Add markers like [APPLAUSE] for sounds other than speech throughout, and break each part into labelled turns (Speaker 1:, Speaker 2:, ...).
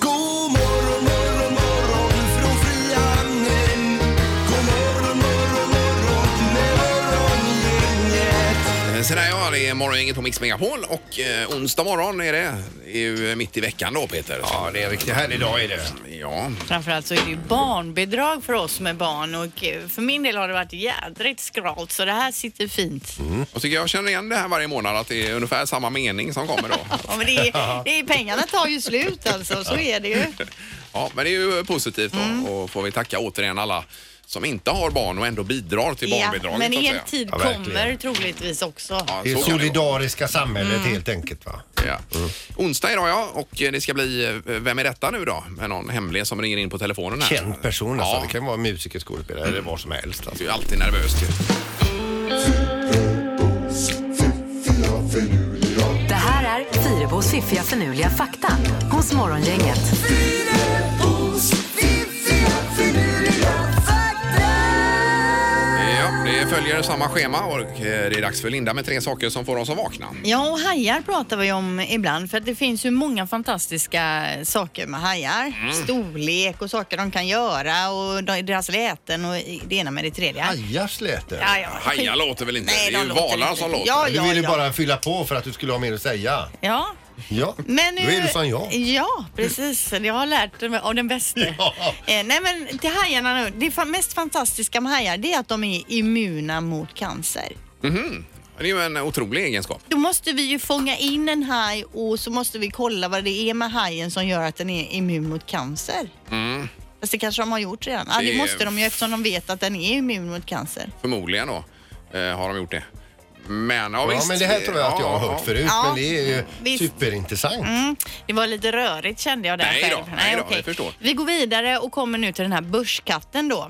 Speaker 1: God morgon morgon morgon från Frihamnen. God morgon morgon morgon med morgongänget.
Speaker 2: Eh, Sådär ja, det är morgongänget på Mix Megapol och eh, onsdag morgon är det. Det är ju eh, mitt i veckan då Peter. Ja, det är en riktigt härlig dag är det. Ja,
Speaker 3: Framförallt så är det ju barnbidrag för oss med barn och eh, för min del har det varit jädrigt skralt så det här sitter fint.
Speaker 2: och tycker jag känner igen det här varje månad att det är ungefär samma mening som kommer då.
Speaker 3: Ja, men det
Speaker 2: [LAUGHS]
Speaker 3: är, det är, pengarna tar ju slut alltså, så är det ju.
Speaker 2: Ja, men [LAUGHS] det är ju positivt då
Speaker 3: Mm.
Speaker 2: och får vi tacka återigen alla som inte har barn och ändå bidrar till barnbidraget.
Speaker 3: men
Speaker 2: så att
Speaker 3: en
Speaker 2: säga.
Speaker 3: tid
Speaker 4: Ja, verkligen.
Speaker 3: kommer troligtvis också.
Speaker 2: Ja,
Speaker 4: Det är
Speaker 2: så kan det Mm. vara.
Speaker 4: solidariska samhället helt enkelt va?
Speaker 2: Ja. Onsdag idag ja, och eh, det ska bli eh, Vem är detta nu då? Med någon hemlig som ringer in på telefonen här.
Speaker 4: Känd person
Speaker 2: ja.
Speaker 4: alltså. Det kan vara musiker, skådespelare eller vad som helst.
Speaker 2: Du
Speaker 4: Alltså.
Speaker 2: är ju alltid nervös. ju.
Speaker 5: Det här är Fyrabos fiffiga förnuliga fakta hos Morgongänget.
Speaker 1: Fyrabos fiffiga finurliga fakta.
Speaker 2: Ja, det följer samma schema och eh, det är dags för Linda med tre saker som får oss att vakna.
Speaker 3: Ja, och hajar pratar vi om ibland för att det finns ju många fantastiska saker med hajar.
Speaker 2: Mm.
Speaker 3: Storlek och saker de kan göra och de- deras läten och i- det ena med det tredje.
Speaker 4: Hajar släter.
Speaker 3: Ja, ja.
Speaker 2: Hajar låter väl inte?
Speaker 3: Nej,
Speaker 2: det är
Speaker 3: de
Speaker 2: ju
Speaker 3: låter
Speaker 2: valar
Speaker 3: inte.
Speaker 2: som låter.
Speaker 3: Ja,
Speaker 4: Du ville bara fylla på för att du skulle ha mer att säga.
Speaker 3: Ja,
Speaker 4: Ja,
Speaker 3: Men,
Speaker 4: då är
Speaker 3: eh,
Speaker 4: du som jag.
Speaker 3: Ja, precis. Jag har lärt mig av den bäste.
Speaker 4: Ja.
Speaker 3: Eh, nej men till hajarna nu. Det fa- mest fantastiska med hajar det är att de är immuna mot cancer.
Speaker 2: Det är ju en otrolig egenskap.
Speaker 3: Då måste vi ju fånga in en haj och så måste vi kolla vad det är med hajen som gör att den är immun mot cancer.
Speaker 4: Mm.
Speaker 3: Fast det kanske de har gjort redan. Ja,
Speaker 2: Det
Speaker 3: det
Speaker 2: är-
Speaker 3: måste de ju eftersom de vet att den är immun mot cancer.
Speaker 2: Förmodligen då eh, har de gjort det. Men ja,
Speaker 4: Ja,
Speaker 2: visst.
Speaker 4: men det här tror jag att jag har hört förut.
Speaker 3: Ja,
Speaker 4: Men det är ju
Speaker 3: visst.
Speaker 4: superintressant.
Speaker 3: Det var lite rörigt kände jag där
Speaker 2: Nej då,
Speaker 3: själv.
Speaker 2: nej då,
Speaker 3: okej.
Speaker 2: jag förstår.
Speaker 3: Vi går vidare och kommer nu till den här börskatten då.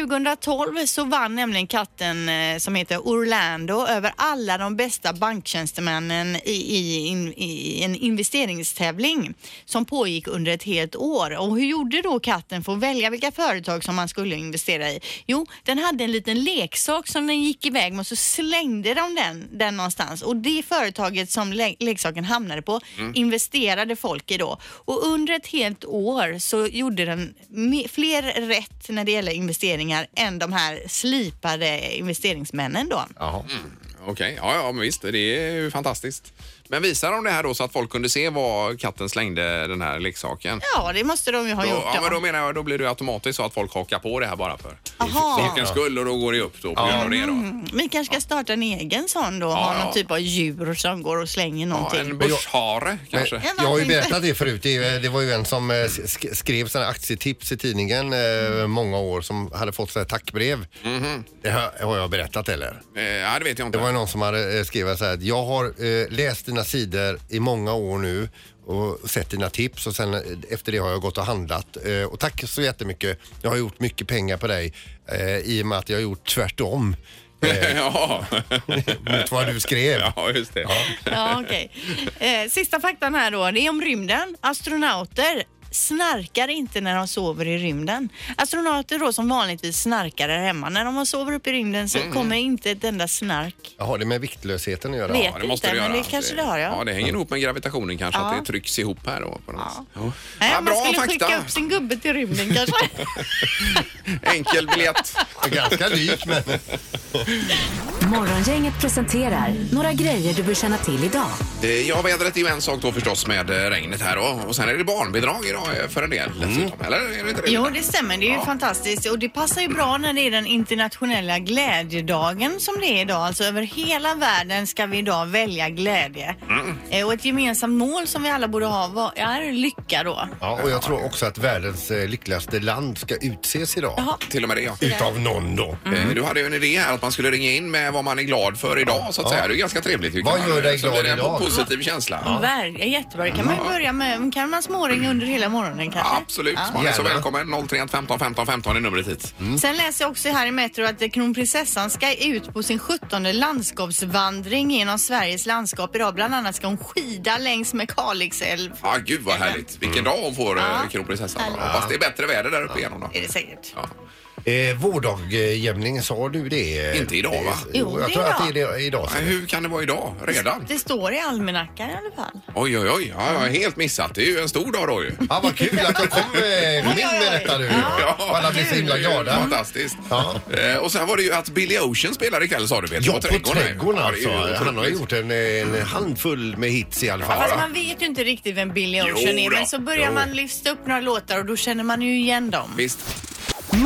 Speaker 3: 2012 så vann nämligen katten eh, som heter Orlando över alla de bästa banktjänstemännen i, i, in, i en investeringstävling som pågick under ett helt år. Och hur gjorde då katten för att välja vilka företag som man skulle investera i? Jo, den hade en liten leksak som den gick iväg med och så slängde de den, den någonstans. Och det företaget som le- leksaken hamnade på
Speaker 2: Mm.
Speaker 3: investerade folk i då. Och under ett helt år så gjorde den me- fler rätt när det gäller investeringar än de här slipade investeringsmännen då.
Speaker 4: Jaha.
Speaker 2: Okej, ja, ja men visst. Det är ju fantastiskt. Men visar de det här då så att folk kunde se var katten slängde den här leksaken?
Speaker 3: Ja, det måste de ju ha
Speaker 2: Då,
Speaker 3: gjort.
Speaker 2: ja, men då menar jag då blir det ju automatiskt så att folk hakar på det här bara för
Speaker 3: Aha. Mm.
Speaker 2: sakens skull och då går det upp då på grund av det då.
Speaker 3: Vi kanske ska starta en egen sån då, ha
Speaker 2: ja.
Speaker 3: någon typ av djur som går och slänger
Speaker 2: Ja,
Speaker 3: någonting.
Speaker 2: en börshare kanske.
Speaker 3: Men-
Speaker 4: Jag har ju berättat det förut. Det är- det var ju en som eh, sk- skrev sådana aktietips i tidningen eh, många år som hade fått sådana här tackbrev. Det har har jag berättat eller?
Speaker 2: Eh, Ja, det vet jag
Speaker 4: Det
Speaker 2: inte.
Speaker 4: var ju någon som hade eh, skrivit så här att jag har eh, läst dina sidor i många år nu och sett dina tips och sen eh, efter det har jag gått och handlat. Eh, och tack så jättemycket. Jag har gjort mycket pengar på dig eh, i och med att jag har gjort tvärtom
Speaker 2: [LAUGHS] [LAUGHS]
Speaker 4: eh,
Speaker 2: ja.
Speaker 4: mot vad du skrev.
Speaker 2: ja, just det.
Speaker 3: Ja, okej. eh, sista faktan här då, det är om rymden. Astronauter snarkar inte när de sover i rymden. Astronauter då som vanligtvis snarkar här hemma, när de sover uppe i rymden
Speaker 2: Mm.
Speaker 3: så kommer inte ett enda snark.
Speaker 4: Jag har det med viktlösheten att göra.
Speaker 3: Vet
Speaker 2: Ja, det måste
Speaker 3: inte,
Speaker 2: det göra.
Speaker 3: men det kanske det har, ja.
Speaker 2: Ja, det hänger ihop med gravitationen kanske,
Speaker 3: Ja.
Speaker 2: att det trycks ihop här då. På något. sätt. Ja.
Speaker 3: Nej,
Speaker 2: Ja,
Speaker 3: Eh, man
Speaker 2: bra
Speaker 3: skulle skicka
Speaker 2: fakta.
Speaker 3: upp sin gubbe till rymden
Speaker 2: [LAUGHS]
Speaker 3: kanske.
Speaker 2: Enkel
Speaker 3: [LAUGHS]
Speaker 2: biljett.
Speaker 4: Ganska lik men...
Speaker 5: Morgongänget presenterar några grejer du bör känna till idag.
Speaker 2: Eh, Ja, vädret är ju en sak då förstås med eh, regnet här och, och sen är det barnbidrag idag eh, för en del dessutom. Eller är det inte det?
Speaker 3: Jo, det stämmer. Det är ju fantastiskt och det passar ju bra när det är den internationella glädjedagen som det är idag. Alltså över hela världen ska vi idag välja glädje.
Speaker 2: Mm.
Speaker 3: Eh, Och ett gemensamt mål som vi alla borde ha var, är lycka då.
Speaker 4: Ja, och jag tror också att världens eh, lyckligaste land ska utses idag.
Speaker 3: Jaha.
Speaker 2: Till och med det ja.
Speaker 4: Utav någon då. Mm.
Speaker 2: Eh, Du hade ju en idé här att man skulle ringa in med vad man är glad för idag så att säga. Det är ganska trevligt. tycker
Speaker 4: Vad
Speaker 2: man.
Speaker 4: gör dig
Speaker 2: Så blir
Speaker 4: glad
Speaker 2: det en
Speaker 4: idag?
Speaker 2: positiv känsla.
Speaker 3: Ver- jättebra, det kan man ju börja med. Kan man småringa under hela morgonen kanske?
Speaker 2: Absolut,
Speaker 3: Ja.
Speaker 2: man är så
Speaker 4: Gärna. Mm.
Speaker 2: välkommen. 031 15 15 15 är numret hit.
Speaker 3: Sen läser jag också här i Metro att eh, kronprinsessan ska ut på sin 17 landskapsvandring genom Sveriges landskap idag. Bland annat ska hon skida längs med Kalix älv.
Speaker 2: Ah, gud vad
Speaker 4: Mm.
Speaker 2: härligt. Vilken dag hon får,
Speaker 3: Ja.
Speaker 2: eh, kronprinsessan.
Speaker 3: Härligt.
Speaker 2: Hoppas det är bättre väder där uppe igen igenom då.
Speaker 3: Är det säkert.
Speaker 2: Ja.
Speaker 4: Eh, vårdagjämning, sa du det? Eh,
Speaker 2: Inte idag, va?
Speaker 3: Jo,
Speaker 4: jag
Speaker 3: det är
Speaker 4: tror att
Speaker 3: idag.
Speaker 4: det är det idag.
Speaker 2: Men hur kan det vara idag redan?
Speaker 3: Det står i almanackan i alla fall.
Speaker 2: Oj, oj, oj. Ja, jag har helt missat. Det är ju en stor dag då ju.
Speaker 4: [LAUGHS] Ja, vad kul att du kom eh, kom in med detta nu. Alla blir så himla
Speaker 2: det är ju
Speaker 4: glada.
Speaker 2: Fantastiskt.
Speaker 4: Ja.
Speaker 2: Eh, och sen var det ju att Billy Ocean spelar ikväll sa du Peter.
Speaker 4: Ja, på trädgården,
Speaker 2: Ja, det är ju
Speaker 4: alltså. Han har
Speaker 2: otroligt.
Speaker 4: gjort en, en handfull med hits i alla fall.
Speaker 3: Fast
Speaker 4: va?
Speaker 3: man vet ju inte riktigt vem Billy
Speaker 2: Jo
Speaker 3: Ocean är.
Speaker 2: då,
Speaker 3: Men så börjar
Speaker 2: jo.
Speaker 3: man lyfta upp några låtar och då känner man ju igen dem.
Speaker 2: Visst.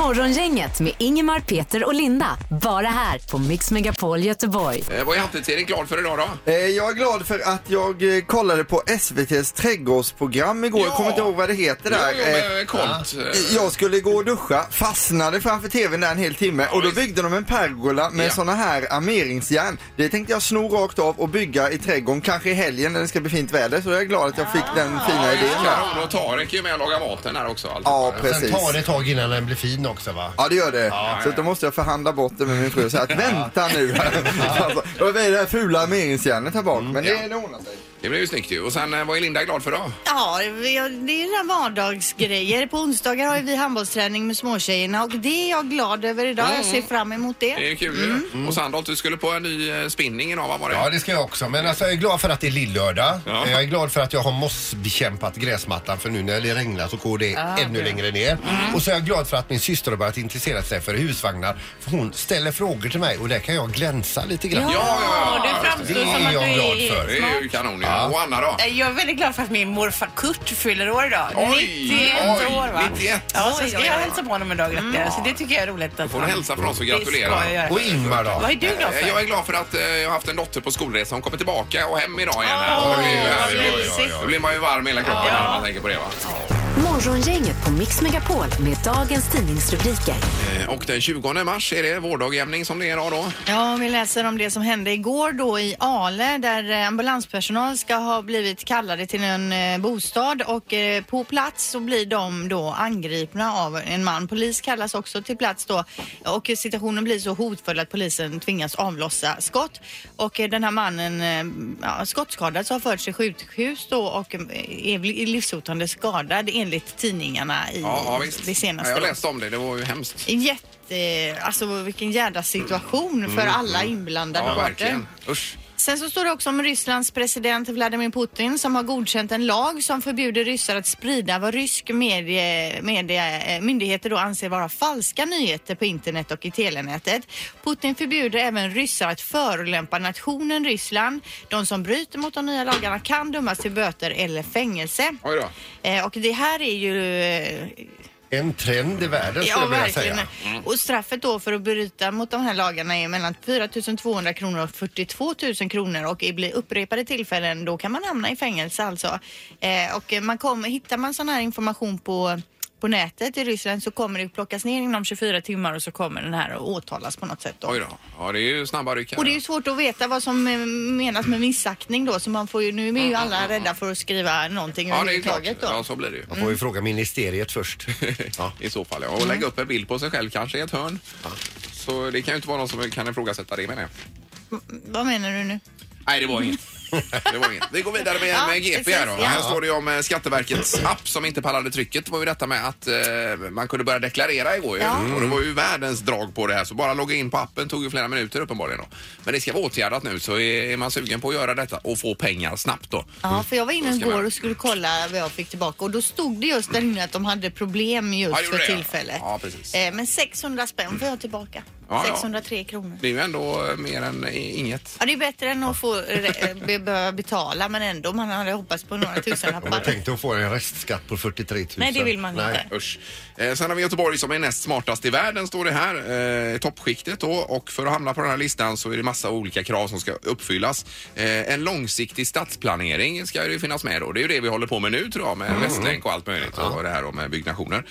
Speaker 5: Morgongänget med Ingemar, Peter och Linda. Bara här på Mix Megapol Göteborg.
Speaker 2: Eh, vad är halvtids-Erik glad för idag då?
Speaker 6: Eh, Jag är glad för att jag eh, kollade på SVTs trädgårdsprogram igår.
Speaker 2: Ja.
Speaker 6: Jag kommer inte ihåg vad det heter där.
Speaker 2: Jo, jo,
Speaker 6: Eh,
Speaker 2: med Colt. eh,
Speaker 6: Jag skulle gå och duscha, fastnade framför tvn där en hel timme och då
Speaker 2: visst.
Speaker 6: byggde de en pergola med
Speaker 2: Ja.
Speaker 6: såna här armeringsjärn. Det tänkte jag sno rakt av och bygga i trädgården, kanske i helgen när det ska bli fint väder. Så jag är glad att jag fick den fina idén där.
Speaker 2: Kanon och Tarek är ju med och lagar maten här också. Alltså.
Speaker 6: Ja,
Speaker 4: Sen
Speaker 6: precis.
Speaker 4: tar det ett tag innan den blir fin också va?
Speaker 6: Ja det gör det. så att då måste jag förhandla bort det med min fru och säga att vänta nu. [LAUGHS] alltså, då är det här fula armeringsjärnet här bak. Men det, det ordnar sig.
Speaker 2: Det blev ju snyggt ju. Och sen eh, vad är Linda glad för då?
Speaker 3: Ja, vi- det är ju vardagsgrejer. På onsdagar har ju vi handbollsträning med småtjejerna och det är jag glad över idag. Jag
Speaker 7: Mm.
Speaker 3: ser fram emot
Speaker 2: Det är
Speaker 3: det.
Speaker 2: ju kul ju.
Speaker 6: Mm.
Speaker 2: Och Sandholt, du skulle på en ny eh, spinning idag, vad var det?
Speaker 4: Ja, det ska jag också. Men alltså, jag är glad för att det är lillördag.
Speaker 2: Ja.
Speaker 4: Jag är glad för att jag har mossbekämpat gräsmattan för nu när det regnar så går det ännu längre ner. Och så är jag glad för att min syster har börjat intressera sig för husvagnar. För hon ställer frågor till mig och där kan jag glänsa lite grann.
Speaker 2: Ja, ja, ja,
Speaker 7: det
Speaker 2: just
Speaker 7: framstår
Speaker 4: det
Speaker 7: som
Speaker 4: är
Speaker 7: att du
Speaker 4: jag glad
Speaker 7: är...
Speaker 4: för.
Speaker 2: Det är ju kanon ju. Och Anna då?
Speaker 7: Jag är väldigt glad för att min morfar Kurt fyller år idag.
Speaker 2: Oj,
Speaker 7: 91
Speaker 2: oj,
Speaker 7: år va?
Speaker 2: 91.
Speaker 7: Ja, så ska jag hälsa på honom idag gratulerar. Så det tycker jag är roligt. Att
Speaker 2: Får du hälsa från oss och
Speaker 7: Det
Speaker 2: gratulera?
Speaker 7: ska jag göra.
Speaker 4: Och Ingmar då?
Speaker 7: Vad är du glad
Speaker 2: Eh,
Speaker 7: för?
Speaker 2: Jag är glad för att eh, jag har haft en dotter på skolresa. Hon kommer tillbaka och hem idag igen. här.
Speaker 7: Åh,
Speaker 2: Och det är ju
Speaker 7: vad
Speaker 2: härligt.
Speaker 7: mysigt.
Speaker 2: Då blir man ju varm i hela kroppen när man tänker på det. Va?
Speaker 5: Morgongänget på Mix Megapol med dagens tidningsrubriker.
Speaker 2: Eh, Och den 20 mars är det vårdagjämning som det är idag då.
Speaker 3: Ja, vi läser om det som hände igår då i Ale där eh, ambulanspersonal ska ha blivit kallade till en eh, bostad och eh, på plats så blir de då angripna av en man. Polis kallas också till plats då och situationen blir så hotfull att polisen tvingas avlossa skott och eh, den här mannen eh, ja, skottskadad så har förts till sjukhus då och eh, är li- livshotande skadad enligt tidningarna i
Speaker 2: Ja, ja visst.
Speaker 3: det senaste.
Speaker 2: Ja, jag
Speaker 3: då.
Speaker 2: läste om det. Det var ju hemskt.
Speaker 3: Jätte, alltså vilken jävla situation för alla inblandade
Speaker 2: Mm, Ja,
Speaker 3: parter.
Speaker 2: verkligen. Usch.
Speaker 3: Sen så står det också om Rysslands president Vladimir Putin som har godkänt en lag som förbjuder ryssar att sprida vad rysk medie, medie, eh, myndigheter då anser vara falska nyheter på internet och i telenätet. Putin förbjuder även ryssar att förolämpa nationen Ryssland. De som bryter mot de nya lagarna kan dömas till böter eller fängelse.
Speaker 2: Oj då.
Speaker 3: Eh, Och det här är ju eh,
Speaker 4: En trend i världen skulle
Speaker 3: Ja,
Speaker 4: jag vilja
Speaker 3: verkligen. Mm.
Speaker 4: säga.
Speaker 3: Och straffet då för att bryta mot de här lagarna är mellan 4 200 kronor och 42 000 kronor och i bli- upprepade tillfällen då kan man hamna i fängelse alltså. Eh, och eh, man kommer, hittar man sån här information på på nätet i Ryssland så kommer det plockas ner inom 24 timmar och så kommer den här att åtalas på något sätt. Då.
Speaker 2: Oj då. Ja, det är ju snabba ryck här.
Speaker 3: Och det är ju svårt att veta vad som eh, menas med missaktning då så man får ju, nu är ju alla rädda för att skriva någonting
Speaker 2: Mm. Ja, det är klart.
Speaker 3: överhuvudtaget då. Mm.
Speaker 2: Ja, så blir det ju.
Speaker 4: Man
Speaker 7: Mm.
Speaker 4: får ju fråga
Speaker 7: [LAUGHS]
Speaker 4: ministeriet först. Ja.
Speaker 2: I så fall, ja. Och
Speaker 3: Mm.
Speaker 2: lägga upp en bild på sig själv kanske i ett hörn. Så det kan ju inte vara någon som kan ifrågasätta det menar jag.
Speaker 3: M- Vad menar du nu?
Speaker 2: Nej, det var inget. [LAUGHS] Det var inget. Vi går vidare med,
Speaker 3: Ja,
Speaker 2: med GP här då.
Speaker 3: precis, ja.
Speaker 2: Här står det ju om eh, Skatteverkets app som inte pallade trycket. Det var ju detta med att eh, man kunde börja deklarera igår ju.
Speaker 3: Ja. Mm.
Speaker 2: Och det var ju världens drag på det här. Så bara logga in på appen tog ju flera minuter uppenbarligen då. Men det ska vara åtgärdat nu så är är man sugen på att göra detta och få pengar snabbt då.
Speaker 3: Ja, för jag var inne
Speaker 2: Mm. Vad ska man
Speaker 3: igår
Speaker 2: göra?
Speaker 3: och skulle kolla vad jag fick tillbaka och då stod det just där inne att de hade problem
Speaker 2: Ja, det
Speaker 3: just
Speaker 2: gjorde
Speaker 3: för
Speaker 2: det, ja.
Speaker 3: tillfället.
Speaker 2: Ja, precis.
Speaker 3: Eh, Men 600 spänn får jag tillbaka.
Speaker 2: Ja, ja.
Speaker 3: 603 kronor.
Speaker 2: Det är ju ändå eh, mer än eh, inget.
Speaker 3: Ja, det är bättre än att få eh, be- behöva betala men ändå man hade hoppats på några
Speaker 4: Jag
Speaker 3: tusenlappar.
Speaker 4: tänkte att få en restskatt på 43 000.
Speaker 7: Nej, det vill man
Speaker 4: Nej.
Speaker 7: inte.
Speaker 2: Usch. Eh, sen har vi Göteborg som är näst smartast i världen står det här. Eh, toppskiktet då och för att hamna på den här listan så är det massa olika krav som ska uppfyllas. Eh, en långsiktig stadsplanering ska ju finnas med då. Det är ju det vi håller på med nu tror jag med
Speaker 4: Mm.
Speaker 2: Västlänk och allt möjligt och det här då med byggnationer.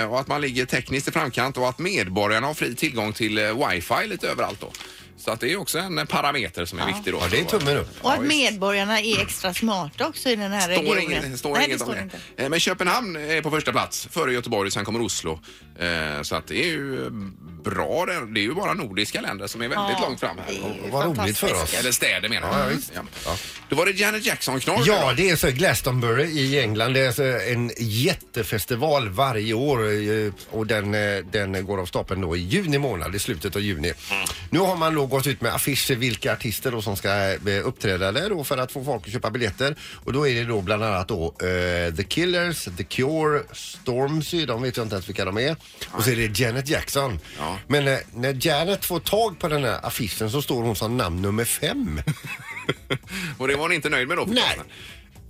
Speaker 2: Eh, och att man ligger tekniskt i framkant och att medborgarna har fri tillgång till eh, wifi lite överallt då. Så att det är också en parameter som är viktig då.
Speaker 4: Ja, det är tummen upp.
Speaker 3: Och att
Speaker 2: visst.
Speaker 3: medborgarna är extra smarta också i den här
Speaker 2: Står
Speaker 3: regionen.
Speaker 2: inget, står
Speaker 3: Nej,
Speaker 2: inget
Speaker 3: det
Speaker 2: om
Speaker 3: står
Speaker 2: det.
Speaker 3: inte.
Speaker 2: Eh, Men Köpenhamn är på första plats, före Göteborg, sen kommer Oslo. Eh, Så att det är ju eh, bra där. Det är ju bara nordiska länder som är väldigt
Speaker 3: Ja,
Speaker 2: långt fram här.
Speaker 3: det är
Speaker 4: Vad roligt för
Speaker 3: fantastiskt.
Speaker 2: Eller städer menar jag.
Speaker 4: Ja, ja, visst.
Speaker 2: Ja.
Speaker 4: Ja.
Speaker 2: Då var det Janet Jackson-knorr.
Speaker 4: Ja, det är så Glastonbury i England. Det är så en jättefestival varje år eh, och den, eh, den går av stapeln då i juni månad, i slutet av juni. Nu har man då gått ut med affischer vilka artister då som ska eh, uppträda där då för att få folk att köpa biljetter. Och då är det då bland annat då eh, The Killers, The Cure, Stormzy, de vet jag inte ens vilka de är. Och så är det Janet Jackson.
Speaker 2: Ja.
Speaker 4: Men eh, när Janet får tag på den här affischen så står hon som namn nummer fem.
Speaker 2: Och det var hon inte nöjd med då?
Speaker 4: Nej.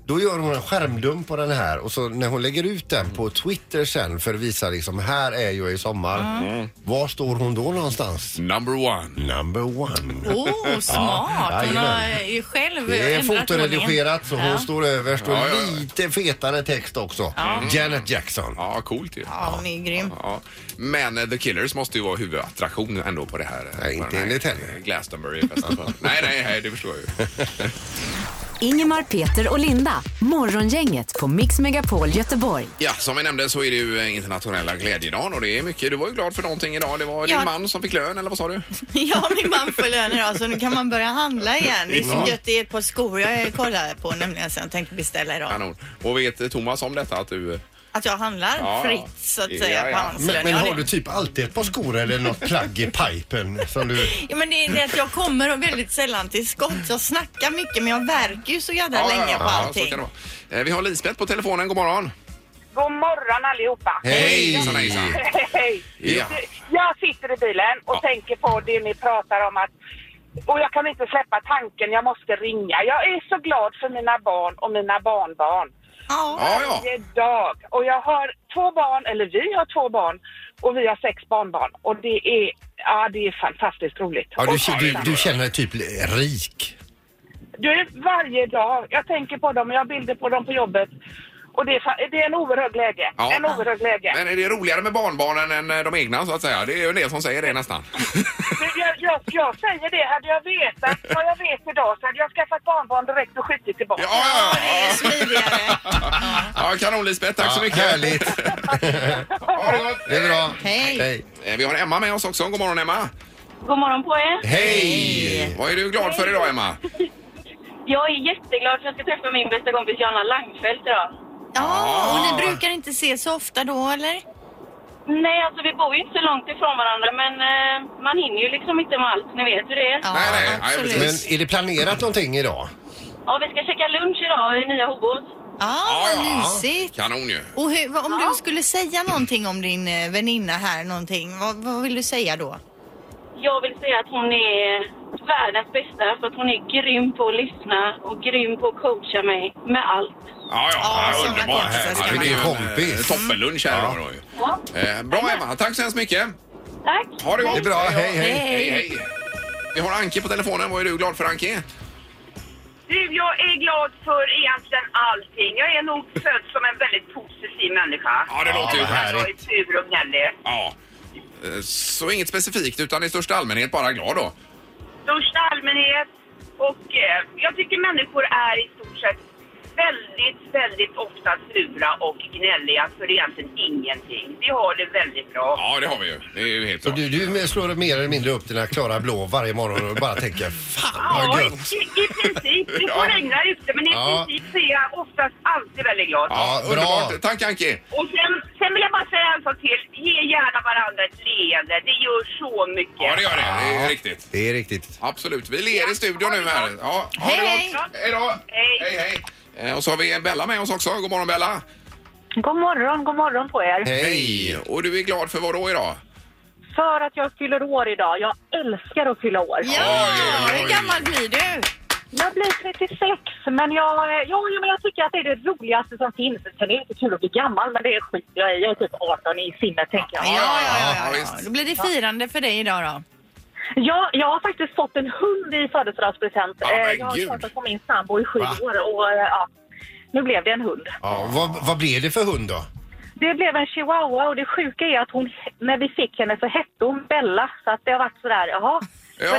Speaker 4: Då gör hon en skärmdump på den här och så när hon lägger ut den på Twitter sen för att visa liksom här är jag i sommar. Var står hon då någonstans?
Speaker 2: Number one.
Speaker 4: Number one.
Speaker 8: Oh,
Speaker 4: Ja,
Speaker 8: smart. Hon
Speaker 4: jajamän.
Speaker 8: har ju själv
Speaker 4: Det är
Speaker 8: ändrat ordningen.
Speaker 4: fotoredigerat så hon
Speaker 8: Ja.
Speaker 4: står överst och
Speaker 2: Ja, ja, ja.
Speaker 4: lite fetare text också. Mm. Janet Jackson.
Speaker 2: Ja, coolt ju. Ja.
Speaker 3: Ja, hon är grym.
Speaker 2: Men eh, The Killers måste ju vara huvudattraktion ändå på det här. eh,
Speaker 4: Nej, inte
Speaker 2: på den här
Speaker 4: enligt henne.
Speaker 2: Glastonbury-festen.
Speaker 4: [LAUGHS]
Speaker 2: nej, nej, nej, det förstår jag ju.
Speaker 5: Ingemar, Peter och Linda. Morgongänget på Mix Megapol Göteborg.
Speaker 2: Ja, som vi nämnde så är det ju eh, internationella glädjedagen och det är mycket. Du var ju glad för någonting idag. Det var
Speaker 3: Ja.
Speaker 2: din man som fick lön, eller vad
Speaker 3: [LAUGHS]
Speaker 2: sa du?
Speaker 3: Ja, min man får lön idag så nu kan man börja handla igen. Det är så gött. Det är ett par skor jag kollar på nämligen så jag tänkte beställa idag.
Speaker 2: Kanon. Och vet eh, Thomas om detta att du... eh,
Speaker 3: Att jag handlar
Speaker 2: Ja, ja.
Speaker 3: fritt så att
Speaker 2: Ja,
Speaker 3: säga
Speaker 2: ja.
Speaker 3: på hans
Speaker 4: Men,
Speaker 3: lön.
Speaker 4: men
Speaker 3: Ja,
Speaker 4: har
Speaker 3: det-
Speaker 4: du typ alltid ett par skor eller något plagg i pipen som du...
Speaker 3: Ja, men det är det att jag kommer väldigt sällan till skott. Jag snackar mycket men jag verkar ju så jävla länge på
Speaker 2: så
Speaker 3: allting.
Speaker 2: kan det vara. Eh, Vi har Lisbeth på telefonen. God morgon.
Speaker 9: God morgon allihopa!
Speaker 4: Hej!
Speaker 2: Hejsan, hejsan.
Speaker 9: Hej!
Speaker 2: Ja.
Speaker 9: Jag sitter i bilen och
Speaker 2: Ja.
Speaker 9: tänker på det ni pratar om att och jag kan inte släppa tanken, jag måste ringa. Jag är så glad för mina barn och mina barnbarn.
Speaker 3: ja.
Speaker 2: Ja, ja.
Speaker 9: Varje dag. Och jag har två barn, eller vi har två barn och vi har sex barnbarn. Och det är, ja det är fantastiskt roligt.
Speaker 4: Ja,
Speaker 9: Och
Speaker 4: du, du,
Speaker 9: tacksam.
Speaker 4: du känner dig typ rik.
Speaker 9: Du, varje dag. Jag tänker på dem och jag har bilder på dem på jobbet. Och det är, fa- det är en oerhörd glädje.
Speaker 2: Ja.
Speaker 9: En oerhörd glädje.
Speaker 2: Men är det roligare med barnbarnen än eh, de egna så att säga? Det är ju en del som säger det nästan.
Speaker 9: Du, Jag, jag, jag säger det, hade jag vetat vad jag vet idag så hade jag skaffat barnbarn direkt och skjutit tillbaka.
Speaker 2: [LAUGHS] Ja, ja,
Speaker 3: Det är
Speaker 2: ja.
Speaker 3: smidigare.
Speaker 2: [LAUGHS] ja kanon Lisbeth, tack så
Speaker 4: Ja,
Speaker 2: mycket.
Speaker 4: Härligt.
Speaker 2: Ha det gott.
Speaker 4: Det är bra.
Speaker 3: Hej.
Speaker 4: Hej.
Speaker 2: Eh, Vi har Emma med oss också. God morgon Emma.
Speaker 9: God morgon på er.
Speaker 4: Hej!
Speaker 2: Vad är du glad för idag Emma?
Speaker 9: Jag är jätteglad för att jag ska träffa min bästa kompis Johanna Langfeldt idag.
Speaker 3: Ja, och ni brukar inte ses så ofta då eller?
Speaker 9: Nej, alltså vi bor ju inte så långt ifrån varandra men eh, man hinner ju liksom inte med allt. Ni vet hur det är.
Speaker 3: Ja,
Speaker 2: Nej, nej, nej,
Speaker 3: absolut.
Speaker 4: Men är det planerat någonting idag?
Speaker 9: Ja, vi ska käka lunch idag i Nya Hobos.
Speaker 3: Ja, vad mysigt.
Speaker 2: Kanon ju.
Speaker 3: Och hur, vad- om du skulle säga någonting om din eh, väninna här någonting, vad, vad vill du säga då?
Speaker 9: Jag vill säga att hon är världens bästa för att hon är grym på att lyssna och grym på att coacha mig med allt.
Speaker 2: Ja, ja,
Speaker 3: Ja,
Speaker 2: ja
Speaker 3: sådana
Speaker 2: underbart.
Speaker 3: kompisar ska
Speaker 2: Ja,
Speaker 3: man
Speaker 2: det är ju
Speaker 4: ha.
Speaker 2: en eh,
Speaker 4: Kompis.
Speaker 2: toppenlunch här idag. då ju.
Speaker 9: Ja,
Speaker 2: Eh, Bra Emma, tack så hemskt mycket.
Speaker 9: tack.
Speaker 2: Ha det gott.
Speaker 4: Det är bra. Hej, hej.
Speaker 2: Hej, hej. Vi har Anke på telefonen. Vad är du glad för Anke?
Speaker 9: Du, jag är glad för egentligen allting. Jag är nog född som en väldigt positiv människa.
Speaker 2: Ja, det låter ju
Speaker 4: vad
Speaker 2: härligt.
Speaker 9: Jag är pur och gnällig.
Speaker 2: Ja. Eh, Så inget specifikt utan i största allmänhet bara glad då?
Speaker 9: Största allmänhet och eh, jag tycker människor är i stort sett väldigt, väldigt ofta sura och gnälliga för egentligen ingenting. Vi har det väldigt bra.
Speaker 2: Ja, det har vi ju. Det är ju helt
Speaker 4: Så
Speaker 2: klart.
Speaker 4: du, du slår mer eller mindre upp dina klara blå varje morgon och bara tänker fan vad
Speaker 9: Ja, i,
Speaker 4: gött.
Speaker 9: i princip. Det får
Speaker 2: Ja.
Speaker 9: regna ute, men i
Speaker 4: Ja.
Speaker 9: princip så är jag oftast alltid väldigt glad.
Speaker 2: Ja,
Speaker 4: Ja, bra.
Speaker 2: underbart. Tack Anke.
Speaker 9: Och sen, sen vill jag bara säga en sak till. Ge gärna varandra ett leende. Det gör så mycket.
Speaker 2: Ja, det gör det. Det är riktigt.
Speaker 4: Det är riktigt.
Speaker 2: Absolut. Vi ler i studion nu här. Ja, ha
Speaker 3: Hej,
Speaker 2: det
Speaker 3: hej.
Speaker 2: gott. Hej då.
Speaker 9: Hej.
Speaker 2: Hej, hej. Eh, Och så har vi Bella med oss också. God morgon Bella.
Speaker 9: God morgon, god morgon på er.
Speaker 4: Hej!
Speaker 2: Och du är glad för vad då idag?
Speaker 9: För att jag fyller år idag. Jag älskar att fylla år.
Speaker 3: Ja,
Speaker 2: Oj, oj, oj.
Speaker 3: hur gammal blir du?
Speaker 9: Jag blir 36, men jag, jo, jo, men jag tycker att det är det roligaste som finns. Sen är det inte kul att bli gammal, men det är skit. Jag är, jag är typ 18 i sinnet, tänker jag.
Speaker 3: Ja, ja, ja, ja,
Speaker 2: visst.
Speaker 3: ja. Då blir det firande för dig idag då.
Speaker 9: Jag, jag har faktiskt fått en hund i födelsedagspresent.
Speaker 2: Ja, men
Speaker 9: Eh, jag har
Speaker 2: gud.
Speaker 9: tjatat på min sambo i sju
Speaker 4: Va?
Speaker 9: år och eh, ja, nu blev det en hund.
Speaker 4: Ja, vad, vad blir det för hund då?
Speaker 9: Det blev en chihuahua och det sjuka är att hon, när vi fick henne så hette hon Bella. Så att det har varit sådär, jaha,
Speaker 2: Jaha.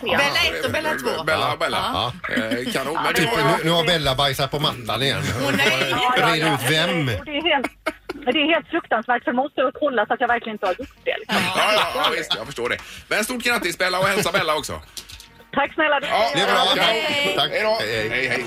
Speaker 3: Bella 1 och Bella 2.
Speaker 2: Bella, Bella. Eh, Kanon. Men det
Speaker 4: Typ,
Speaker 2: var ju...
Speaker 4: nu, nu har Bella bajsat på mattan igen. Reder ut vem.
Speaker 10: Och Det är helt, det är helt fruktansvärt för måste jag kolla så att jag verkligen inte har gjort det. Liksom.
Speaker 2: Ja, ja, ja, visst, jag förstår det. Men stort grattis Bella och hälsa Bella också.
Speaker 10: Tack snälla du.
Speaker 2: Ja,
Speaker 5: Det är bra.
Speaker 2: tack.
Speaker 5: Hej.
Speaker 2: Tack. Hej då. Hej, hej.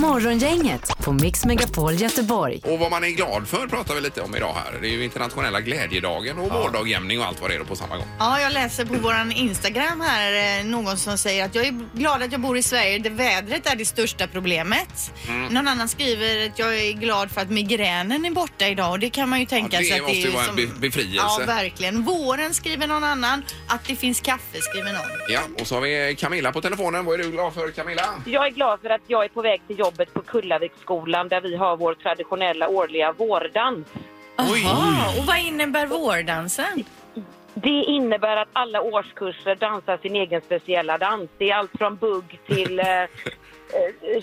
Speaker 5: Morgongänget på Mix Megapol Göteborg.
Speaker 2: Och vad man är glad för pratar vi lite om idag här. Det är ju internationella glädjedagen och vårdagjämning och allt vad det är på samma gång.
Speaker 3: Ja, jag läser på våran Instagram här eh, någon som säger att jag är glad att jag bor i Sverige där vädret är det största problemet.
Speaker 2: Mm.
Speaker 3: Någon annan skriver att jag är glad för att migränen är borta idag och det kan man ju tänka
Speaker 2: det
Speaker 3: sig att
Speaker 2: måste ju vara en
Speaker 3: som-
Speaker 2: be- befrielse.
Speaker 3: Ja, verkligen. Våren skriver någon annan, att det finns kaffe skriver någon.
Speaker 2: Ja, och så har vi Camilla på telefonen. Vad är du glad för Camilla?
Speaker 11: Jag är glad för att jag är på väg till jobbet på Kullaviksskolan där vi har vår traditionella årliga vårdans.
Speaker 3: Aha, och vad innebär vårdansen?
Speaker 11: Det innebär att alla årskurser dansar sin egen speciella dans. Det är allt från bugg till eh, eh,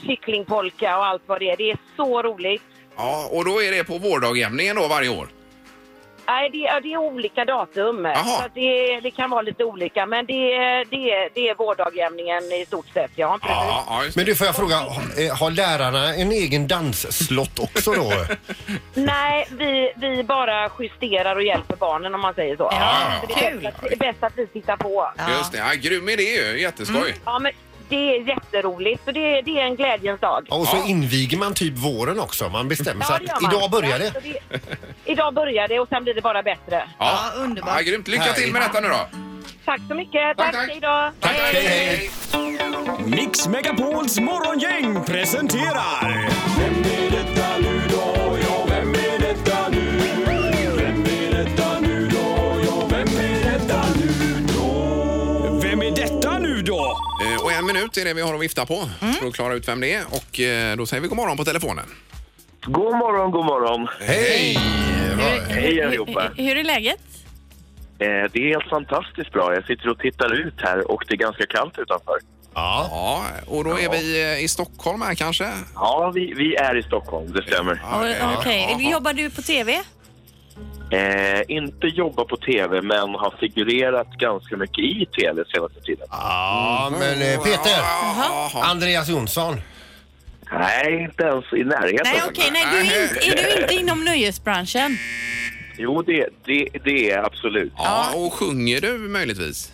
Speaker 11: kycklingpolka och allt vad det är. Det är så roligt.
Speaker 2: Ja, och då är det på vårdagjämningen då varje år.
Speaker 11: Nej, det, ja, det är olika datum. Så att det, det kan vara lite olika, men det, det, det är vårdagjämningen i stort sett. Ja, precis.
Speaker 4: Men du, får jag fråga, har- eh, har lärarna en egen dansslott också då?
Speaker 11: Nej, vi, vi bara justerar och hjälper barnen om man säger så.
Speaker 2: Ja,
Speaker 11: Så det, är bäst att, det är bäst att vi tittar på.
Speaker 2: Just det. Ja, grym idé ju. Jätteskoj.
Speaker 9: Mm.
Speaker 11: Ja, men det är jätteroligt. Så det, det är en glädjens dag.
Speaker 4: Ja, och så inviger man typ våren också. Man bestämmer sig
Speaker 11: Ja, det gör
Speaker 4: Mm. att
Speaker 11: man.
Speaker 4: idag börjar
Speaker 11: Ja, så
Speaker 4: det.
Speaker 11: Idag börjar det och sen blir det bara bättre.
Speaker 2: Ja, underbart. Ja, grymt. Lycka till med detta nu då.
Speaker 11: Tack så mycket. Tack, hej då.
Speaker 2: Hej, hej.
Speaker 12: Mix Megapols morgongäng presenterar... Vem är detta nu då? Ja, vem är detta nu? Vem är detta nu då? Ja, vem är detta nu då? Vem är detta nu då?
Speaker 2: Eh, Och en minut är det vi har att vifta på för att klara ut vem det är. Och eh, då säger vi god morgon på telefonen.
Speaker 9: God morgon, god morgon.
Speaker 2: Hej!
Speaker 9: Hej allihopa.
Speaker 3: Hur är läget?
Speaker 9: Eh, Det är helt fantastiskt bra. Jag sitter och tittar ut här och det är ganska kallt utanför.
Speaker 4: Ja.
Speaker 2: ja och då är
Speaker 9: Ja.
Speaker 2: vi eh, i Stockholm här kanske?
Speaker 9: Ja, vi, vi är i Stockholm, det stämmer.
Speaker 3: Okej, jobbar du på TV?
Speaker 9: Eh, inte jobba på tv, men har figurerat ganska mycket i tv senaste tiden.
Speaker 4: Ah. Ja, men eh, Peter. Andreas Jonsson.
Speaker 9: Nej, inte ens i närheten.
Speaker 3: Nej, okej, nej, du är, inte, är du inte inom nöjesbranschen?
Speaker 9: Jo, det, det, det är jag absolut.
Speaker 2: Ja, och sjunger du möjligtvis?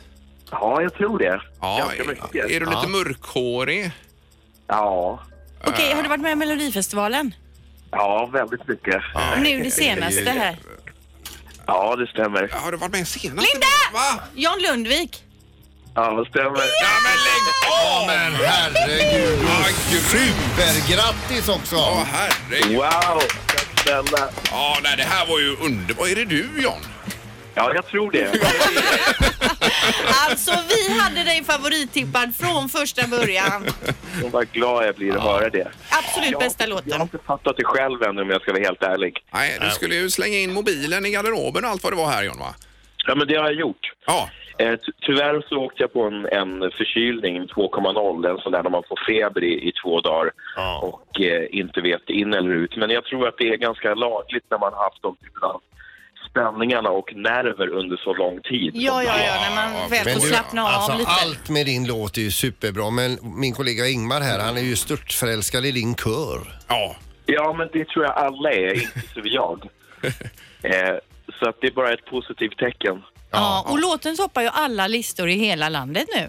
Speaker 9: Ja, jag tror det.
Speaker 2: Ja,
Speaker 9: Ganska mycket.
Speaker 2: är, är du lite
Speaker 9: Ja.
Speaker 2: mörkhårig?
Speaker 9: Ja.
Speaker 3: Okej, har du varit med i Melodifestivalen?
Speaker 9: Ja, väldigt mycket.
Speaker 3: Nu det senaste här.
Speaker 9: Ja, det stämmer.
Speaker 2: Har du varit med senast?
Speaker 3: Linda! Jan Lundvik.
Speaker 9: Ja, det stämmer.
Speaker 2: Ja,
Speaker 4: men herregud. Supergrattis också. Ja,
Speaker 2: herregud.
Speaker 9: Wow, tack snälla.
Speaker 2: Ja, nej, det här var ju underbart. Är det du, John?
Speaker 9: Ja, jag tror det.
Speaker 3: Alltså, vi hade dig favorittippad från första början.
Speaker 9: Och vad glad jag blir att höra det.
Speaker 3: Absolut bästa låten.
Speaker 9: Jag har inte fattat det själv ännu om jag ska vara helt ärlig.
Speaker 2: Nej, du skulle ju slänga in mobilen i garderoben och allt vad det var här, John, va?
Speaker 9: Ja, men det har jag gjort.
Speaker 2: Ja.
Speaker 9: Eh, ty- tyvärr så åkte jag på en, en förkylning, en 2,0, en sån där när man får feber i, i två dagar och eh, inte vet in eller ut. Men jag tror att det är ganska lagligt när man har haft de typen av spänningarna och nerver under så lång tid.
Speaker 3: Ja, ja, ja, när man väl får
Speaker 4: du,
Speaker 3: slappna av
Speaker 4: alltså,
Speaker 3: lite.
Speaker 4: Allt med din låt är ju superbra, men min kollega Ingmar här, han är ju störtförälskad i din kör.
Speaker 2: Ja.
Speaker 9: Ja, men det tror jag alla är, inklusive jag. Eh, så att det är bara ett positivt tecken.
Speaker 3: Ja, och låten toppar ju alla listor i hela landet nu.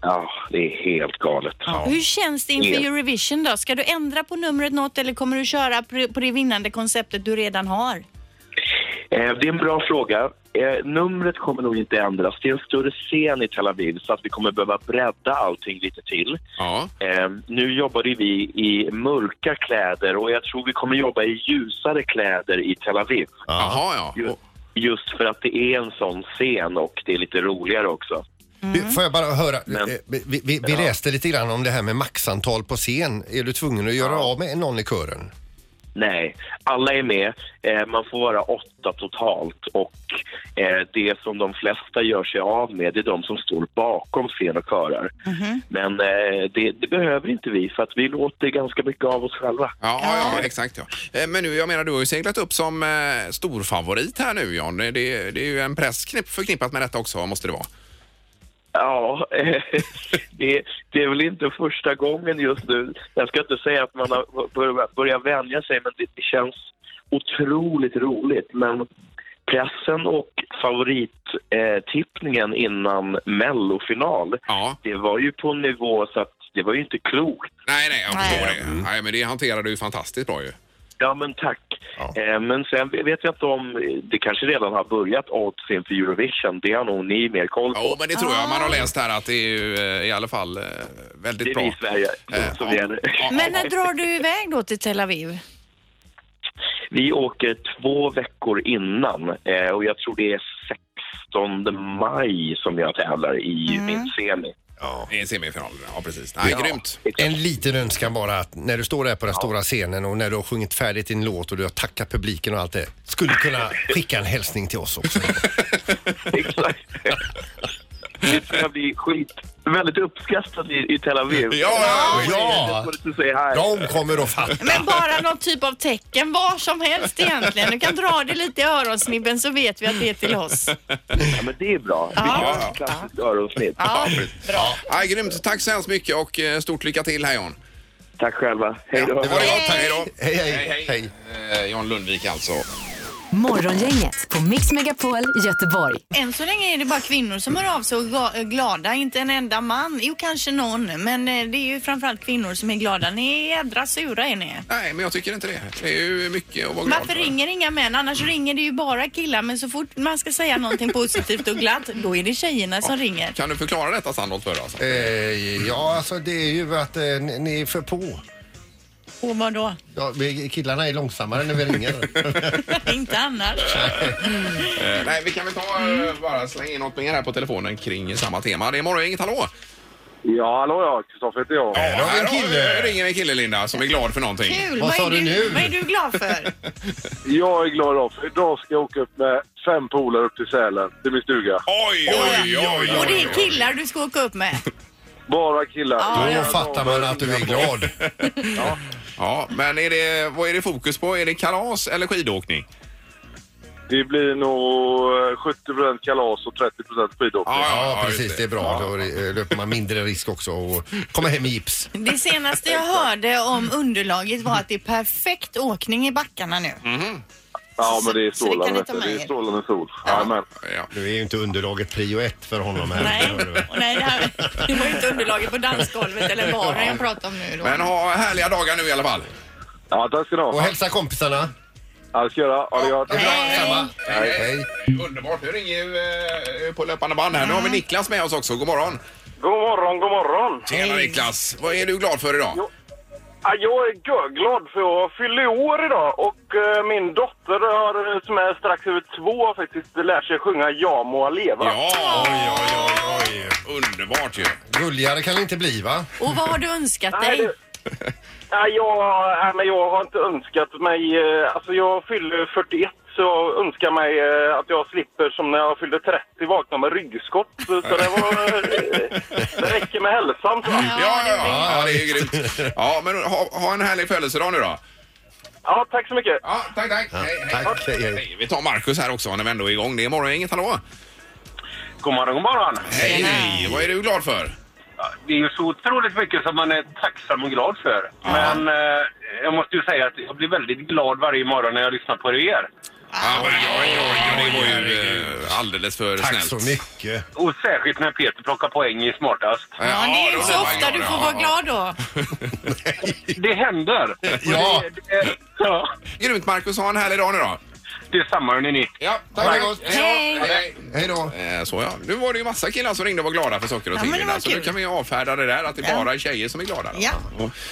Speaker 9: Ja, det är helt galet.
Speaker 3: Hur känns det inför Eurovision då? Ska du ändra på numret något eller kommer du köra pr- på det vinnande konceptet du redan har?
Speaker 9: Eh, Det är en bra fråga. Eh, Numret kommer nog inte ändras. Det är en större scen i Tel Aviv så att vi kommer behöva bredda allting lite till. Eh, Nu jobbade vi i mörka kläder och jag tror vi kommer jobba i ljusare kläder i Tel Aviv.
Speaker 2: Jaha, ja.
Speaker 9: Ju- Just för att det är en sån scen och det är lite roligare också.
Speaker 4: Du, får jag bara höra, eh, vi, vi, vi läste lite grann om det här med maxantal på scen. Är du tvungen att göra av med någon i kören?
Speaker 9: Nej, alla är med. Eh, man får vara åtta totalt och eh, det som de flesta gör sig av med det är de som står bakom scen och körar. Men eh, det, det behöver inte vi för att vi låter ganska mycket av oss själva.
Speaker 2: Ja, ja, ja, exakt ja. Eh, Men nu, jag menar, du har ju seglat upp som eh, storfavorit här nu, John. Det, det det är ju en press knipp- förknippat med detta också, måste det vara.
Speaker 9: Ja, [LAUGHS] eh, det, det är väl inte första gången just nu. Jag ska inte säga att man har börjat, börjat vänja sig, men det, det känns otroligt roligt. Men pressen och favorittippningen innan mellofinal, det var ju på en nivå så att det var ju inte klokt.
Speaker 2: Nej, nej, Mm. jag förstår det. Nej, men det hanterar du ju fantastiskt bra ju.
Speaker 9: Ja, men tack. Eh, Men sen vet jag inte om eh, det kanske redan har börjat oddsen för Eurovision. Det har nog ni mer koll på.
Speaker 2: Ja, men det tror jag man har läst här att det är ju eh, i alla fall eh, väldigt
Speaker 9: Det är
Speaker 2: bra.
Speaker 9: vi i Sverige
Speaker 2: Eh,
Speaker 9: som
Speaker 2: ja.
Speaker 9: gäller.
Speaker 3: Men när drar du iväg då till Tel Aviv?
Speaker 9: [LAUGHS] Vi åker två veckor innan eh, och jag tror det är 16 maj som jag tävlar i
Speaker 3: Mm.
Speaker 9: min semi.
Speaker 2: Ja, i semifinalen. Ja, precis. Nej, grymt.
Speaker 9: [LAUGHS]
Speaker 4: En liten önskan bara att när du står där på den stora scenen och när du har sjungit färdigt din låt och du har tackat publiken och allt det. Skulle du kunna skicka en hälsning till oss också?
Speaker 9: Det tror jag blir skit. Väldigt uppskattat i, i Tel Aviv.
Speaker 4: Ja, ja, ja.
Speaker 9: ja.
Speaker 4: De kommer att fatta.
Speaker 3: Men bara någon typ av tecken, var som helst egentligen. Du kan dra det lite i öronsnibben så vet vi att det är till oss.
Speaker 9: ja, men det är bra.
Speaker 3: Ja.
Speaker 9: Det är klassiskt öronsnitt.
Speaker 3: Ja,
Speaker 2: bra. Ja, grymt. Tack så hemskt mycket och eh, stort lycka till här John.
Speaker 9: Tack själva. Hej
Speaker 2: då. Ja, det var det gott. Tack, hej då.
Speaker 4: Hej,
Speaker 2: hej. hej, Eh, John Lundvik alltså.
Speaker 5: Morgongänget på Mix Megapol Göteborg.
Speaker 3: Än så länge är det bara kvinnor som hör av sig och ga- glada, inte en enda man. Jo, kanske någon, men eh, det är ju framförallt kvinnor som är glada. Ni är jädra sura är ni.
Speaker 2: Nej, men jag tycker inte det. Det är ju mycket att vara glad
Speaker 3: Varför
Speaker 2: för.
Speaker 3: ringer inga män? Annars ringer det ju bara killar, men så fort man ska säga någonting positivt och glatt, då är det tjejerna som ringer.
Speaker 2: Kan du förklara detta Sandholt för oss?
Speaker 4: Eh, ja, alltså det är ju att eh, ni, ni är för på.
Speaker 3: Och vad då? [LAUGHS]
Speaker 4: Ja, vi- killarna är långsammare när vi ringer.
Speaker 2: [LAUGHS]
Speaker 3: inte annars.
Speaker 2: Eh, nej, vi kan väl ta,
Speaker 3: Mm.
Speaker 2: eh, bara slänga in något mer här på telefonen kring samma tema. Det är morgon, inget hallå!
Speaker 13: Ja, hallå ja. Kristoffer heter jag.
Speaker 2: Ja, här har- ringer en kille Linda som är glad för någonting.
Speaker 3: Kul! är du, Vad är du glad för?
Speaker 13: Jag är glad av, för idag ska jag åka upp med fem polare upp till Sälen, till min stuga.
Speaker 2: Oj, oj, oj!
Speaker 3: Och det är killar du ska åka upp med.
Speaker 13: Bara killar.
Speaker 3: Ja, ja.
Speaker 4: fattar man att du är glad.
Speaker 2: ja. ja, men är det, vad är det fokus på? Är det kalas eller skidåkning?
Speaker 13: Det blir nog eh, 70 kalas och 30 skidåkning.
Speaker 4: Ja, precis. Det är bra. Då eh, löper man mindre risk också och kommer hem i gips.
Speaker 3: Det senaste jag hörde om underlaget var att det är perfekt åkning i backarna nu.
Speaker 2: Mm.
Speaker 13: Ja, men det är
Speaker 3: det kan
Speaker 13: strålande.
Speaker 3: ni
Speaker 13: vet
Speaker 3: ta
Speaker 13: du.
Speaker 3: med
Speaker 13: Det
Speaker 3: er.
Speaker 13: är strålande sol. Jajamän.
Speaker 4: Nu är ju inte underlaget prio ett för honom här.
Speaker 3: Nej, och nej det, här, det var ju inte underlaget på dansgolvet eller baren jag pratar om nu då.
Speaker 2: Men ha härliga dagar nu i alla fall.
Speaker 13: Ja, tack ska ni ha.
Speaker 4: Och hälsa kompisarna.
Speaker 13: Ja, det ska jag göra. Ha det gott.
Speaker 4: Detsamma.
Speaker 2: Hej, Eh, Underbart. Nu ringer ju eh, på löpande band här. Nu har vi Niklas med oss också. God morgon.
Speaker 13: God morgon, god morgon.
Speaker 2: Tjena Niklas. Vad är du glad för idag?
Speaker 13: Ja, jag är gö- glad för jag fyller år idag och eh, min dotter har, eh, som är strax över två har faktiskt lärt sig sjunga Ja må leva.
Speaker 2: Ja, oj, oj, oj, oj. Underbart ju.
Speaker 4: Gulligare kan det inte bli, va?
Speaker 3: Och vad har du önskat
Speaker 13: Nej,
Speaker 3: dig?
Speaker 13: det- Nej, jag, nej, men jag har inte önskat mig... eh, Alltså jag fyller 41 så jag önskar mig eh, att jag slipper som när jag fyllde 30 vakna med ryggskott. Så det, var, eh, det räcker med hälsan. Så.
Speaker 2: Ja, ja, ja, ja, det är ju grymt. Ja, men ha, ha en härlig födelsedag nu då.
Speaker 13: Ja, tack så mycket.
Speaker 2: Ja, tack, tack. hej, hej. Hej, Vi tar Markus här också när vi ändå är igång. Det är morgongänget, hallå!
Speaker 13: God morgon, god morgon.
Speaker 2: Hej, hej. Vad är du glad för?
Speaker 13: Det är ju så otroligt mycket som man är tacksam och glad för. Men eh, jag måste ju säga att jag blir väldigt glad varje morgon när jag lyssnar på er.
Speaker 2: Ja, men, Ah, oj, oj, oj, det var ju eh, alldeles för
Speaker 4: Tack
Speaker 2: snällt.
Speaker 4: så mycket.
Speaker 13: Och särskilt när Peter plockar poäng i Smartast.
Speaker 3: Ja, det är ju inte så ofta du får vara glad då.
Speaker 13: Det händer.
Speaker 2: Ja.
Speaker 13: Det, det, ja.
Speaker 2: Grymt Marcus, ha en härlig dag nu då.
Speaker 13: Det är samma hörni ni.
Speaker 2: Ja,
Speaker 4: tack.
Speaker 2: Hej, hej.
Speaker 4: Hej då.
Speaker 2: Eh, Så ja, nu var det ju massa killar som ringde och var glada för saker och
Speaker 5: Ja,
Speaker 2: ting.
Speaker 5: men det var
Speaker 2: Linda. så nu
Speaker 5: kul.
Speaker 2: kan vi avfärda det där att det
Speaker 5: Ja.
Speaker 2: bara är tjejer som är glada. då.
Speaker 5: Ja.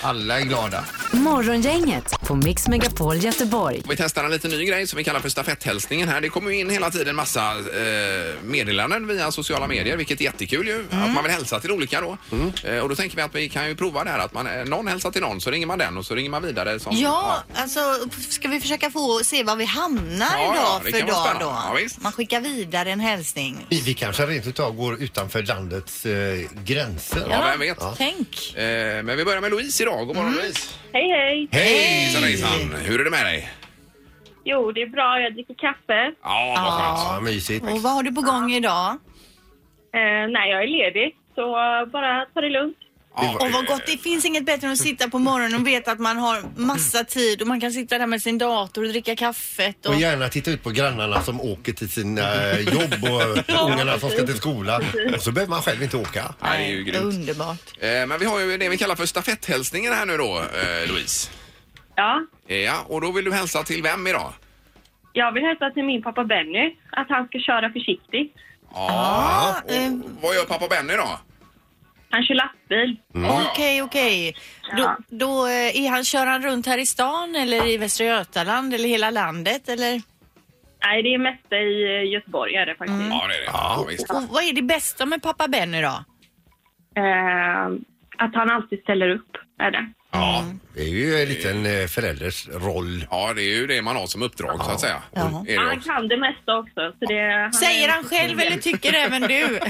Speaker 4: Alla är glada.
Speaker 5: Morgongänget på Mix Megapol Göteborg.
Speaker 2: Vi testar en liten ny grej som vi kallar för stafetthälsningen här. Det kommer ju in hela tiden massa eh, meddelanden via sociala medier, vilket är jättekul ju. Att man vill hälsa till olika då. Eh, och då tänker vi att vi kan ju prova det här att man, eh, någon hälsar till någon så ringer man den och så ringer man vidare. Som,
Speaker 3: Ja, alltså ska vi försöka få se var vi hamnar
Speaker 2: Ja, ja, det
Speaker 3: dag
Speaker 2: kan
Speaker 3: för
Speaker 2: vara
Speaker 3: dag då?
Speaker 2: spännande. Ja, visst.
Speaker 3: Man skickar vidare en hälsning.
Speaker 4: Vi, vi kanske rent utav går utanför landets eh, gränser.
Speaker 2: Ja, Mm. vem vet?
Speaker 3: Tänk.
Speaker 2: Eh, men vi börjar med Louise idag. God morgon Louise!
Speaker 14: Hej, hej!
Speaker 2: Hejsan hejsan! Hur är det med dig?
Speaker 14: Jo, det är bra. Jag dricker kaffe.
Speaker 2: Ah, Ja, vad skönt.
Speaker 4: Ja, mysigt.
Speaker 3: Och vad har du på gång idag?
Speaker 9: Eh, nej, jag är ledig. Så bara ta det lugnt.
Speaker 3: Och vad gott, det finns inget bättre än att sitta på morgonen och veta att man har massa tid och man kan sitta där med sin dator och dricka kaffet. Och...
Speaker 4: Och gärna titta ut på grannarna som åker till sina eh, jobb och
Speaker 3: Ja,
Speaker 4: ungarna som ska till
Speaker 3: precis.
Speaker 4: skolan. Och så behöver man själv inte åka.
Speaker 2: Nej, det är ju grymt.
Speaker 3: Underbart.
Speaker 2: Eh, Men vi har ju det vi kallar för stafetthälsningen här nu då, eh, Louise.
Speaker 9: Ja,
Speaker 2: Ja, och då vill du hälsa till vem idag?
Speaker 9: jag vill hälsa till min pappa Benny att han ska köra försiktigt.
Speaker 2: Ah. Ja.
Speaker 3: eh,
Speaker 2: Och vad gör pappa Benny då?
Speaker 9: Han kör lastbil.
Speaker 4: Mm.
Speaker 3: Okej, okej. Då, då eh, är han, kör han runt här i stan eller i Västra Götaland eller hela landet eller?
Speaker 9: Nej, det är mest i eh, Göteborg är det faktiskt.
Speaker 2: Ja, det är det. Ja, visst.
Speaker 3: Och vad är det bästa med pappa Benny då?
Speaker 9: Eh, att han alltid ställer upp är det.
Speaker 2: Ja.
Speaker 4: Det är ju en liten eh, förälders roll.
Speaker 2: Ja, det är ju det man har som uppdrag så att säga. Och Är det
Speaker 9: Han
Speaker 2: också.
Speaker 9: kan det mesta också. Så det, han
Speaker 3: Säger
Speaker 9: är-
Speaker 3: han själv eller tycker även
Speaker 4: [LAUGHS]
Speaker 3: du?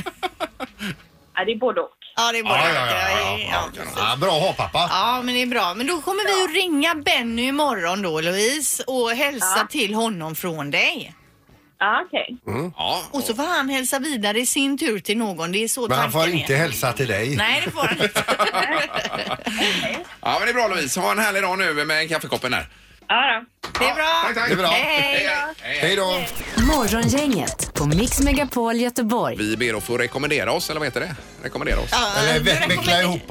Speaker 9: Ja, det är både och.
Speaker 3: Ja, det är både
Speaker 4: Ja, ja, ja, ja, ja. Ja, Bra att ha pappa.
Speaker 3: Ja, men det är bra. Men då kommer vi att ringa Benny imorgon då, Louise, och hälsa till honom från dig.
Speaker 9: Ja, okej.
Speaker 2: Ja.
Speaker 3: Och så får han hälsa vidare i sin tur till någon. Det är så
Speaker 4: Men han får
Speaker 3: tanken är.
Speaker 4: inte hälsa till dig.
Speaker 3: Nej, det får han inte.
Speaker 4: [LAUGHS]
Speaker 2: Ja, men det är bra Louise. Ha en härlig dag nu med kaffekoppen där.
Speaker 9: Ja,
Speaker 3: det är bra.
Speaker 2: Tack, tack.
Speaker 4: Det är bra.
Speaker 3: Hej, hej.
Speaker 4: Hej då.
Speaker 15: Morgongänget på Mix Megapol Göteborg.
Speaker 2: Vi ber att få rekommendera oss, eller vad heter det? Rekommendera oss.
Speaker 3: Ja, Eller du ve- rekommenderar- veckla
Speaker 4: ihop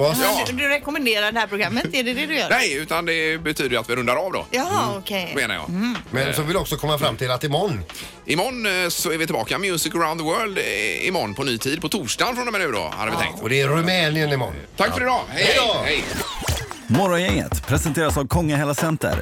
Speaker 3: Du, du rekommenderar det här programmet, är det det du gör?
Speaker 2: Nej, Mm. utan det betyder ju att vi rundar av då.
Speaker 3: Jaha, okej.
Speaker 2: Menar jag.
Speaker 4: Men så vill jag också komma fram till att imorgon
Speaker 2: Imorgon eh, så är vi tillbaka. Music around the world eh, imorgon på ny tid. På torsdagen från och med nu då, hade vi tänkt.
Speaker 4: Och det är Rumänien imorgon.
Speaker 2: Tack för idag. Hej, hej,
Speaker 4: då.
Speaker 2: hej.
Speaker 12: Morgongänget presenteras av Kongahälla Center